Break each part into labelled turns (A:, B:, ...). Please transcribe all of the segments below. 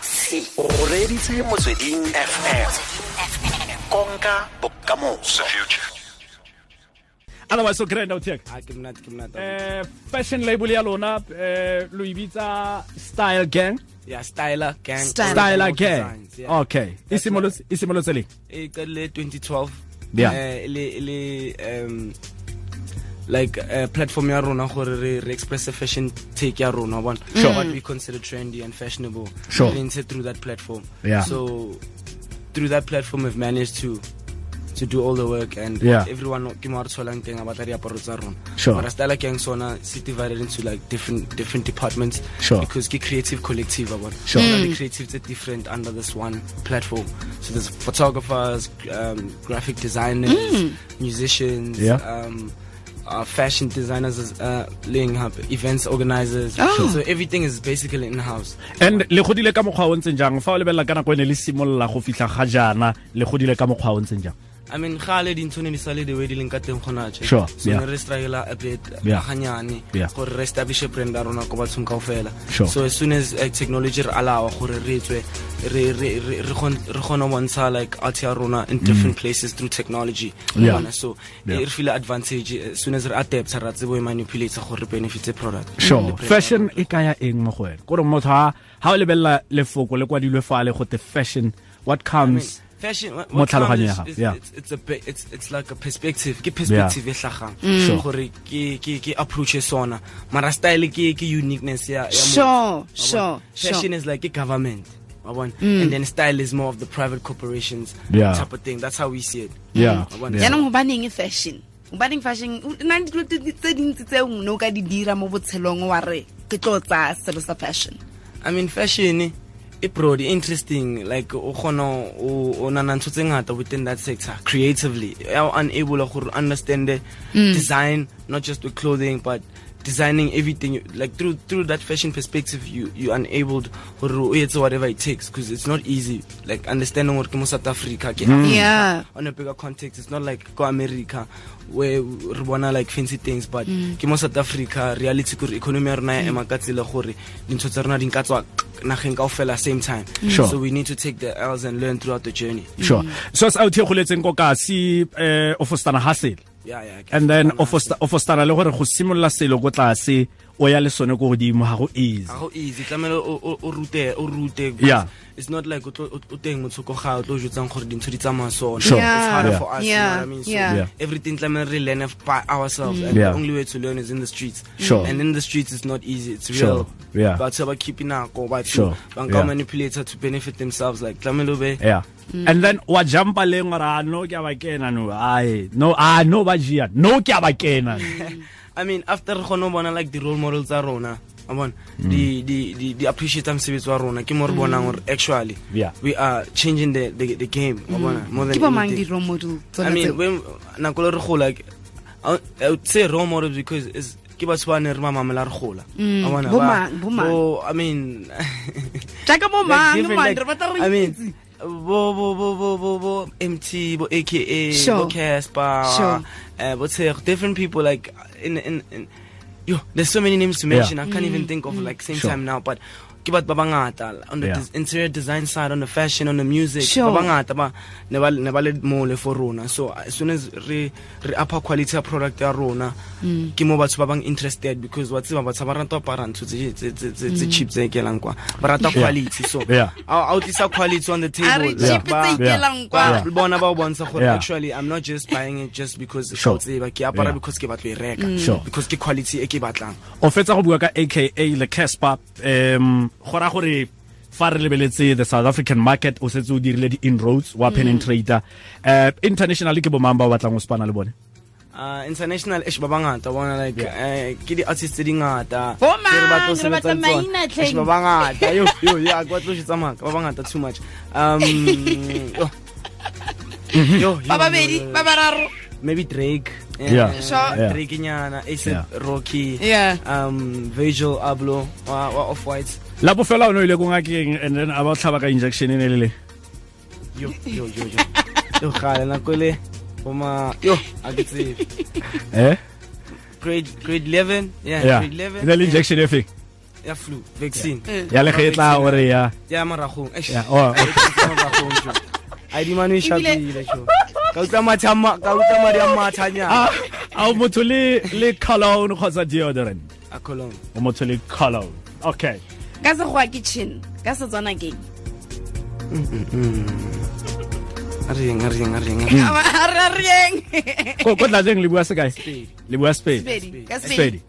A: se o reditse motsweding fm konka bokamoso
B: otherwise so grand out here
C: a ke mnate ke mnate
B: eh fashion label ya lona eh lo ibitsa style gang
C: ya styler gang
D: Styler.
B: style
C: Original
B: gang
C: designs, yeah.
B: okay e simolotse e simolotse leng
C: e qalile 2012
B: Yeah.
C: Eh, e le e le um like uh, platform ya rona gore re re express a fashion take ya rona one
B: Sure.
C: what we consider trendy and fashionable
B: Sure.
C: We entered through that platform
B: Yeah.
C: so through that platform we've managed to to do all the work and
B: Yeah.
C: everyone ke mo a re tsholang teng a batla diaparo tsa rona
B: Sure.
C: Mara Styler gang sona se divided into like different different departments
B: Sure.
C: because ke creative collective about
B: Sure. Hmm.
C: All the creatives are different under this one platform. So there's photographers, um, graphic designers, musicians,
B: Hmm. Yeah.
C: um, uh, fashion designers, uh, laying up events organizers.
D: Oh.
C: So everything is basically in house.
B: and le godile ka mokgwa o ntseng jang fa o lebelela ka nako e ne le simolola go fitlha ga jaana le godile ka mokgwa o ntseng jang
C: I mean, khale dintho ne di sale the way di leng ka teng gona tje.
B: Sure,
C: So
B: yeah.
C: ne re struggle a bit
B: Yeah.
C: ganyane
B: Yeah.
C: gore re establish e brand ya rona ko bathong kaofela.
B: Sure.
C: So as soon as uh, technology re alawa gore re tswe re re re re gon- re gona bontsha like art ya rona in different places through technology.
B: Mm. Yeah.
C: Bona. So
B: Yeah.
C: e re feel advantage eh, as soon as re adapt ra tsebo e manipulate gore re benefit product.
B: sure
C: Le brand ya
B: fashion e kaya eng mo go wena kore motho ha ha o lebelela lefoko le kwadilwe fale go te fashion what
C: I mean,
B: comes
C: fashion what
B: Mo
C: what comes
B: tlhaloganyong ya
C: is-
B: gago,
C: is-
B: yeah.
C: it's it's a bit- it's it's like a perspective ke perspective e hlagang
B: Mm. Sure.
C: gore ke ke ke approach e sona mara style ke ke uniqueness ya ya motho,
D: Sure,
C: wa
D: sure,
C: bona. fashion is like a government wa bona. and then style is more of the private corporations
B: Mm. Yeah.
C: type of thing that's how we see it
B: Yeah,
C: Wa bona.
B: yeah.
D: jaanong gobaneng e fashion gobaneng fashion o na le dilo tse di- tse dintsi tse ngwe o ka di dira mo botshelong wa re ke tlo tsa selo sa fashion
C: i mean fashion e broad e interesting like o gona o o nana ntho tse ngata within that sector creatively ya unable to understand the design not just with clothing but designing everything you- like through through that fashion perspective you you unable to it's whatever it takes because it's not easy like understanding what from South Africa ke Africa,
D: Yeah.
C: on a bigger context it's not like go America where re bona like fancy things but ke mo South Africa reality gore economy ya rona ya ema ka tsela gore dintho tsa rona di nka tswa nageng kaofela same time
B: Sure.
C: so we need to take the L's and learn throughout the journey
B: sure so se out here go letseng ko kasi eh o fostana hustle
C: yeah yeah ke-
B: and then
C: ke-
B: o fosta- o fostana le gore go simolola selo ko tlase o ya le sone ko godimo ha go easy
C: ga go easy tlamele o o- o rute o rute
B: Yeah.
C: it's not like o tlo- o o teng motsoko ga o tlo o jotsang gore dintho di tsamaya sona
B: Sure.
C: it's harder
B: Yeah.
C: for us
D: Yeah.
C: you know what i mean so
D: Yeah.
B: Yeah.
C: everything tlamele re learn by ourselves and
B: Yeah.
C: the only way to learn is in the streets
B: Sure.
C: and in the streets it's not easy it's
B: Sure.
C: real
B: Yeah.
C: batho ba keep nako batho
B: Sure.
C: ba
B: Yeah.
C: nka manipulator to benefit themselves like tlamele o be
B: yeah and then wa jumpa leng ora no ke a ba kena no ai no a no ba jia no ke a ba kena
C: I mean after re gone bona like the role models tsa rona a bona di di di di appreciate mosebetsi wa rona ke mo re
D: Mm.
C: bonang gore actually
B: Yeah.
C: we are changing the the, the game a bona more than
D: Mm. ke bomang
C: anything.
D: di-role model
C: I
D: tsona
C: mean
D: tseo
C: when nako le re gola ke- I I would say role models because is ke batho ba ne re ba mamela re gola a bona
D: Mm. Bo
C: ba-
D: mang, bo mang?
C: bo- I mean
D: jaaka bo mang
C: different,
D: man
C: like,
D: re batla
C: I
D: re
C: mean, bo bo bo bo bo bo MT bo AKA
D: Sure.
C: bo Casper
D: Sure.
C: uh, what's it, different people like in in, in yo, there's so many names to mention. I can't
D: Mm.
C: even think of like same
B: Sure.
C: time now, but ke batho ba bangata on the
B: Yeah.
C: des- interior design side, on the fashion, on the music.
D: Sure.
C: Ba bangata ba ne ba ne ba le mo le for rona. So as soon as re re upper quality ya product ya rona,
D: Mm.
C: ke mo batho ba bang interested because what's ba batho ba rata para ntho tse tse tse tse-
D: Mm.
C: tse cheap tse kelang kwa. Ba rata quality. So
B: Yeah.
C: I'll I'll just quality on the table.
D: a re
C: Like,
D: chipe tse
C: ba-
D: ikelang
C: ba
D: kwa
C: bona ba o bontsha gore
B: Yeah.
C: actually i'm not just buying it just because
B: Sure.
C: sure. tseba ke apara
B: Yeah.
C: because ke batla e reka
D: Mm.
B: Sure.
C: because ke quality e ke batlang
B: o fetsa go bua ka aka le casper um go ra gore fa re lebeletse the south african market o setse o dirile di-inroads wa penetrator um internationally ke bomang ba o batlang go spana le bone
C: uh, international esh ba bangata bona like eh, ke di-artist tse dingata
D: Bo mang?
C: tse re batlo
D: Re batla
C: sebetsang tsona.
D: maina,
C: Eish, ba
D: tlheng.
C: bangata yo yo yo, ha ke batlo jwetsa maka ba bangata too much um yo. Yo, yo, yo,
D: ba
C: yo,
D: babedi
C: yo.
D: ba bararo
C: maybe Drake.
B: Yeah.
D: Sure.
B: Yeah.
C: Drake nyana, ASAP
B: Yeah.
C: Rocky.
D: Yeah.
C: Um, Virgil Abloh, wa, wa off white.
B: la bofela o ne o ile ko ngakeng and then a ba o tlhaba ka injection e ne le le
C: Yo, yo, yo, yo. yo, khala nako le. Oma, yo, a ke tsebe.
B: eh
C: Grade grade 11. Yeah,
B: yeah
C: grade 11.
B: e ne le injection e feng
C: ya flu vaccine
B: ya le ge e tla ore ya
C: ya maragong eish.
B: ya oh okay.
C: Ya maragong, jo. a dimane e shapile jo. ka utlwa mathe a ma- ka utlwa madi a mathanyana
B: a a Ah, o motho le le cologne kgotsa deodorant
C: a colon
B: o motho le cologne okay
D: ka sekgowa ke chin ka setswana keng
C: a reng a reng a reng a reng.
D: a re reng
B: ko ko tlatseng le bua se kae le bua spedi
D: Sepedi, ka
B: spedi
D: Sepedi.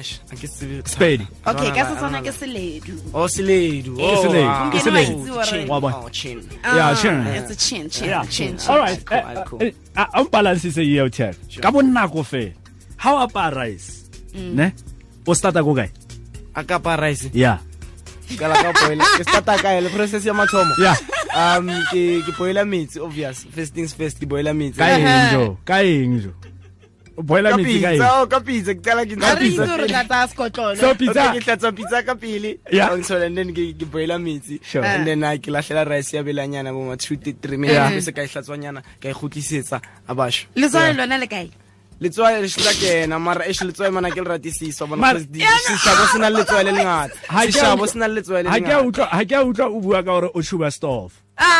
C: Eish, a ke tsebe thata.
B: Spedi.
D: okay ka
C: Anana,
D: setswana ke
C: anana.
D: seledu
C: Oh, seledu
B: Ke
C: Oh,
B: seledu,
C: wow.
B: ke
D: Gompieno wa itse hore-
B: seledu wa bona
C: Oh, chin.
B: Yeah,
D: Ah,
B: chin.
D: it's a chin chin
B: Yeah.
D: chin chin.
B: all right
C: Alcohol, alcohol.
B: Eh, eh, a a mbalansise ye o tshela ka bonnako fela ha o apaya rice ne o starta ko kae
C: a ka apaya rice
B: ya
C: kala ka boila ke starta kae le process ya mathomo
B: ya
C: um ke ke boila metsi obvious first things first ke boila metsi
B: ka eng jo ka eng jo o boila metsi ka eng
C: oh, ka pitsa ke tala ke
D: ga re
C: pitsa
D: itse gore
C: pele.
D: tla tsaya sekotlolo
B: so
C: Okay, ke
B: pizza
C: tlatsa pitsa ka pele
B: Yeah.
C: On so, and then ke ke boila metsi
B: Sure.
C: and then a ke lahlela rice ya belanyana bo ma 2 3
B: Yeah.
C: minutes se ka e hlatswanyana ka e gotlisetsa a basho
D: letswale lona le kae
C: letswale le shitla kena mara eish letswale mana ke le ratisiswa bona
B: Mara-
C: cause di- seshabo se na le letswale le ngata
B: Ha ke a
C: seshabo
B: utlwa-
C: se na le letswale le
B: ha ke a
C: ngata
B: utlwa ha ke a utlwa o bua ka gore o shuba stuff
D: Ah!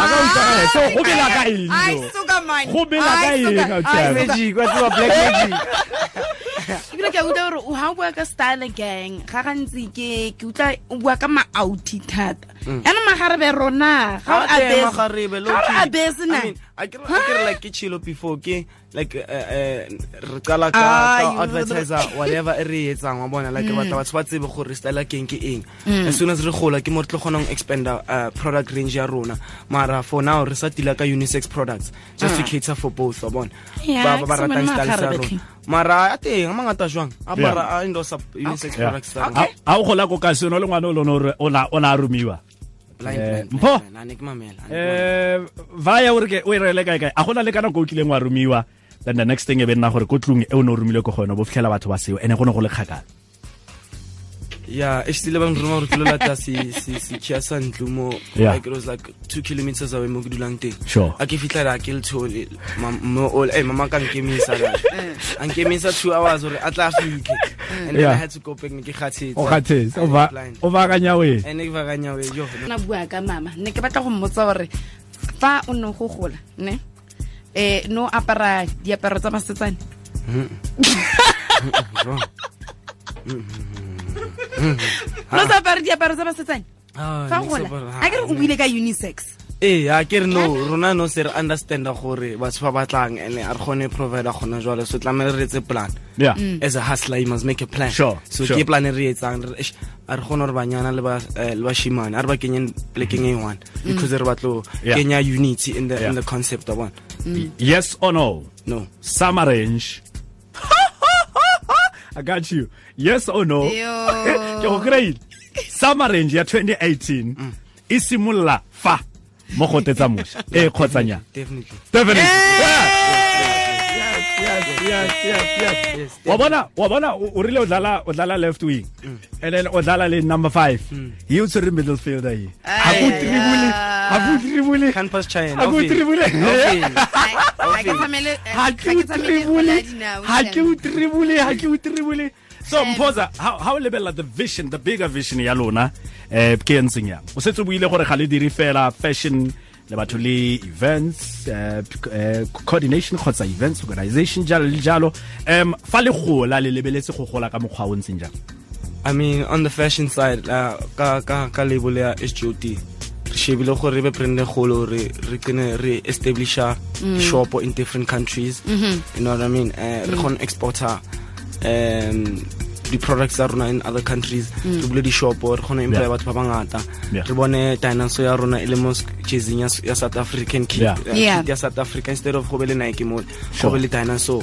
B: Ha ka utlwa ka- so go bela ka eng jo?
D: Ai, suka, man.
B: Go bela ka
D: Ai,
B: eng,
D: suka.
B: Aotsana?
D: Ai, suka.
C: magic wa tseba black magic
D: ebile ke a utlwa gore o- ha o bua ka style gang ga gantsi ke ke utlwa o bua ka maouti thata
B: Mm.
D: yaanong magarebe rona ga o
C: Ah, teng,
D: abese-
C: magarebe, low
D: ga o
C: key.
D: abese
C: I
D: na
C: mean, akere- akere like ke chilo before ke like eh, eh, re qala ka-
D: Ah,
C: ka
D: you-
C: advertiser whatever e re e etsang wa bona like re batla batho ba tsebe gore style ya keng ke eng as soon as re gola ke mo re tlo kgonang expanda uh, product range ya rona mara for now re sa tila ka unisex products just to cater for both wa bona
D: Yeah,
C: Ba- ba- ba
D: ke sengwe le
C: ratang style sa rona
D: magarebe tlhe.
C: mara a teng a mangata jwang a
B: Yeah.
C: bara a endosa unisex
B: Yeah.
C: products tsa rona
B: Ha- ha o gola ko kaseno le ngwana o lone ore o la- o la romiwa
C: Blind,
B: Eh,
C: blind, blind,
B: Mpho?
C: blind. Ha ne ke mamela, ha ne ke mamela.
B: um vaya ore ke o e rele kae kae a gona le kana ko o kileng wa romiwa then the next thing e be nna gore ko tlong e o ne o romile ko go yone bo fitlhela batho ba seo ene go ne go le kgakala
C: Yeah, actually bang ruma gore ke lo lata si si si chia sa ntlo mo
B: Yeah.
C: like it was like 2 kilometers away mo ke dulang teng.
B: Sure.
C: A ke fitla ra ke le thole ma- mo all eh mama ka nkemisa ga. A nkemisa 2 hours gore a tla fitlhe.
D: Mm.
C: And then
B: Yeah.
C: I had to go back ke khathetse.
B: o kgathetse o
C: I was
B: ba-
C: blind.
B: o baakanya oe
C: And ke vaganya we yo.
D: na bua ka mama ne ke batla go mmotsa gore fa o ne go gola ne eh no apara diaparo tsa masetsane
B: Mm. mm,
D: no sa apara diaparo tsa basetsane
C: Ah,
D: fa
C: ne
D: o
C: ke sa
D: gola
C: apara-
D: a ke re o buile ka unisex
C: Eh, a ke re no, rona no se re understanda gore batho ba batlang and a re kgone provide gona jwale so tlamehile re etse plan.
B: yeah
C: Mm. as a hustler you must make a plan
B: Sure,
C: so
B: sure.
C: ke plan e re etsang re- eish, a re kgone gore banyana le ba- eh, le bashimane a re ba kenye polekeng e one because re batlo
B: Mm. Yeah.
C: kenya unity in the,
B: Yeah.
C: in the concept of one
B: yes or no
C: no
B: summer range i got you yes or no ke go kry summer range ya 2018 e simolola fa mo go tetsa moša e kgotsanya
C: definitely
B: definitely Yeah. Eh. wa bona wa bona o o rile o dlala o dlala left wing and then o dlala le number 5 he o tshwere middle fielder ye ha go tribule ha go tribule
C: campus china
B: ha go tribule
D: Ai, ga ke
C: Okay.
D: tshamele- eh,
B: ha
D: ga
B: ke o
D: ke tshamele kgwele
B: tribule
D: ya dinao,
B: ha ke o
D: Shem.
B: tribule ha ke o tribule so mpoza how how lebella the vision the bigger vision ya lona eh ke e ntseng yang o setse o buile gore ga le dire fela fashion le batho le events eh, p- eh, coordination kgotsa events organization jalo le jalo um fa le gola le lebeletse go gola ka mokgwa o ntseng jang
C: i mean on the fashion side uh, ka ka ka label ya sjot re shebile gore re be brande golo re re kene re establisha
B: Mm.
C: shop in different countries
B: Mm-hmm.
C: you know what i mean uh,
B: Mm.
C: re kgone exporta um di-products tsa rona in other countries re bule di-shopo re kgone employ
B: Mm. Yeah.
C: batho ba bangata
B: Yeah.
C: re bone dinaso ya rona e le mo jasing ya s- ya south african kit
B: Yeah.
C: uh,
D: Yeah.
C: kit ya south africa instead of go be le nike mo
B: Sure.
C: go be le dinaso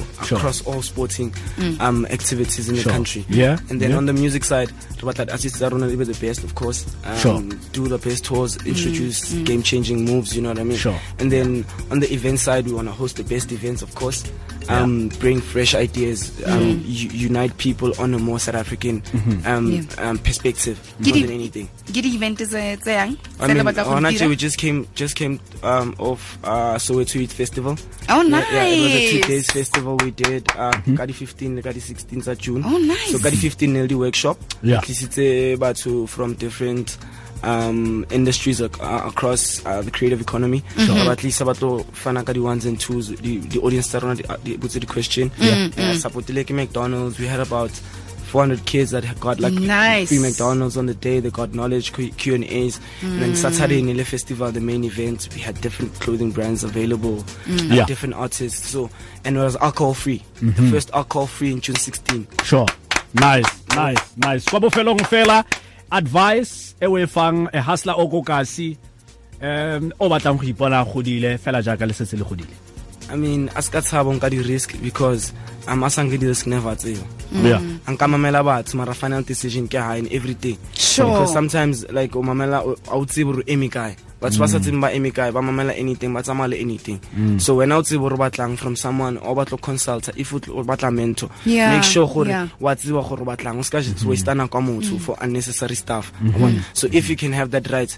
B: Sure. Mm.
C: across all sporting um activities in
B: Sure.
C: the country
B: Yeah,
C: and then
B: yeah.
C: on the music side re batla di-artists tsa rona di be the best of course um,
B: Sure.
C: do the best tours introduce game changing moves you know what i mean
B: Sure.
C: and then on the event side we want to host the best events of course um, bring fresh ideas, um, u- unite people on a more South African
B: Mm-hmm.
C: um,
D: Yeah.
C: um, perspective
D: Ke
C: more
D: di-
C: than anything.
D: ke di-event tse tse
C: I
D: yang tse le
C: mean,
D: batla go
C: honestly, we
D: di dira?
C: just came just came um, off uh, Soweto Youth Festival.
D: oh
C: Yeah, yeah, it was a two
D: nice
C: days festival we did. Uh, ka di 15 le ka di 16 tsa June.
D: Oh, nice.
C: So ka di 15 ne le di workshop.
B: Yeah.
C: Tlisitse batho uh, from different um industries ac- uh, across uh, the creative economy
D: Mm-hmm.
C: so ba tlisa ba tlo fana ka di-ones and twos the, the audience tsa rona di- uh, di botse di-question yeah.
D: Mm-hmm.
C: yeah, supportile ke mcdonald's we had about 400 kids that had got like
D: Nice.
C: free mcdonald's on the day they got knowledge Q- q and a's and then saturday nile festival the main event we had different clothing brands available and
B: Yeah.
C: different artists so and it was alcohol free the first alcohol free in june 16
B: sure nice nice nice kwa bofelong fela advice e o e fang e hustler o ko kasi um o batlang go ipona a godile fela jaaka le setse le godile
C: I mean, aska tshaba nka di-risk because um, a sa nke di-risk never tseba
B: yeah
C: a nka mamela batho mara final decision ke ha in everything
D: sure
C: because sometimes like o mamela o- a o tsebe gore o eme kae batho ba sa
D: Mm.
C: tseng ba eme kae ba mamela anything ba tsamaya le anything so wena o tsebe gore o batlang from someone o batla go consulta if o tlo- o batla mentor
D: Yeah,
C: make sure gore
D: yeah. Mm-hmm. Mm.
C: wa tseba gore o batlang o seka just waste nako a motho for unnecessary stuff Wa- so if you can have that right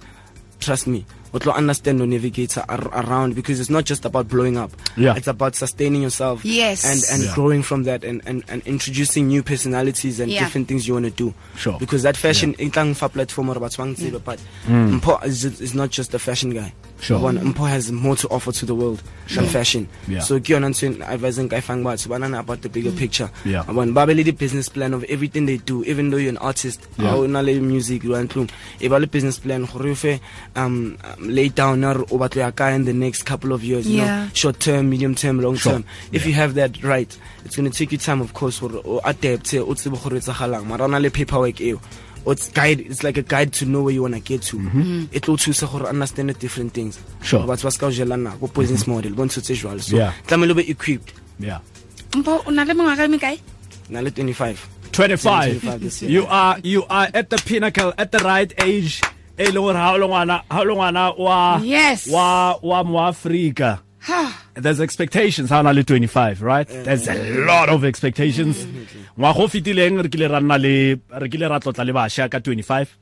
C: trust me o tlo understand or navigator ar- around because it's not just about blowing up
B: Yeah.
C: it's about sustaining yourself
D: Yes.
C: and and
B: Yeah.
C: growing from that and, and and introducing new personalities and
D: Yeah.
C: different things you want to do
B: Sure. Mm.
C: because that fashion yeah. itlang fa platform or about swang tsebe but Mpo is, ju- is not just a fashion guy
B: Sure.
C: One, Mpo has more to offer to the world than fashion
B: Yeah. Mm.
C: so ke yona ntho e advising ka e fang batho ba nana about the bigger picture
B: Yeah.
C: Abantu ba be le di-business plan of everything they do even though you're an artist
B: Yeah.
C: ga o na le music wa ntlong e ba le business plan gore o fe um um, lay down ya gore o batlo ya kae in the next couple of years you know
D: Yeah.
C: short term medium term long
B: Sure.
C: term if you have that right it's going to take you time of course gore o adapte o tsebe gore e tsagalang mara o na le paperwork eo It's guide. It's like a guide to know where you want to get to. E It will choose to understand the different things.
B: Mm-hmm. Sure. Mm-hmm.
C: But what's going on go business model, go into visual. So,
B: Yeah.
C: tlamehile o be equipped.
B: yeah
D: mpo o na le mongwaga me kae
C: Now, 25. 25
B: 25
C: this
B: you are you are at the pinnacle at the right age e leng gore ha o le ngwana ha o le ngwana wa
D: Yes.
B: wa wa mo Africa there's expectations ha o na le 25 right there's a lot of expectations ngwa go fitileng re kile ra nna le re kile ra tlotla le basha ka 25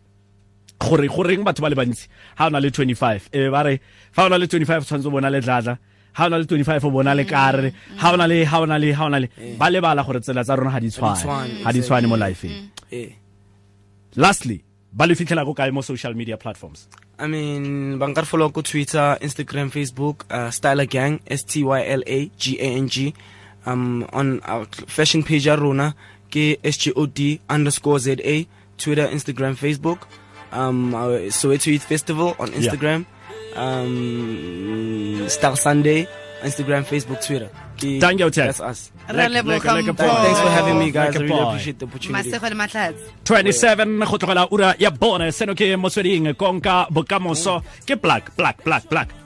B: gore goreng batho ba le bantsi ha o na le 25 e be ba re fa o na le 25 o tshwanetse o bona le dladla ha o na le 25 o bona le kare ha o na le ha o na le ha o na le ba lebala gore tsela tsa rona ha di tshwane
C: tshwane,
B: ha di tshwane mo lifeng
C: Eh.
B: lastly ba le fitlhela ko kae mo social media platforms
C: I mean, bankar follow ko Twitter, Instagram, Facebook, uh, Styler Gang, S T Y L A G A N G. Um, on our fashion page Aruna, K S G O D underscore Z A, Twitter, Instagram, Facebook. Um, our Soweto Youth Festival on
B: Yeah.
C: Instagram. Um, Star Sunday, Instagram, Facebook, Twitter. Ke-
B: Thank you, Ted.
C: That's us.
B: Like-
D: Re
B: like-
D: leboga
B: like a
D: Mpho.
B: boy.
C: Thanks for having me, guys.
B: Like a
C: I really
B: boy.
C: appreciate the opportunity.
D: masego le matlhatsi
B: 27 go tlogela ura ya bone seno ke motsweding konka bokamoso ke plug plug plug plug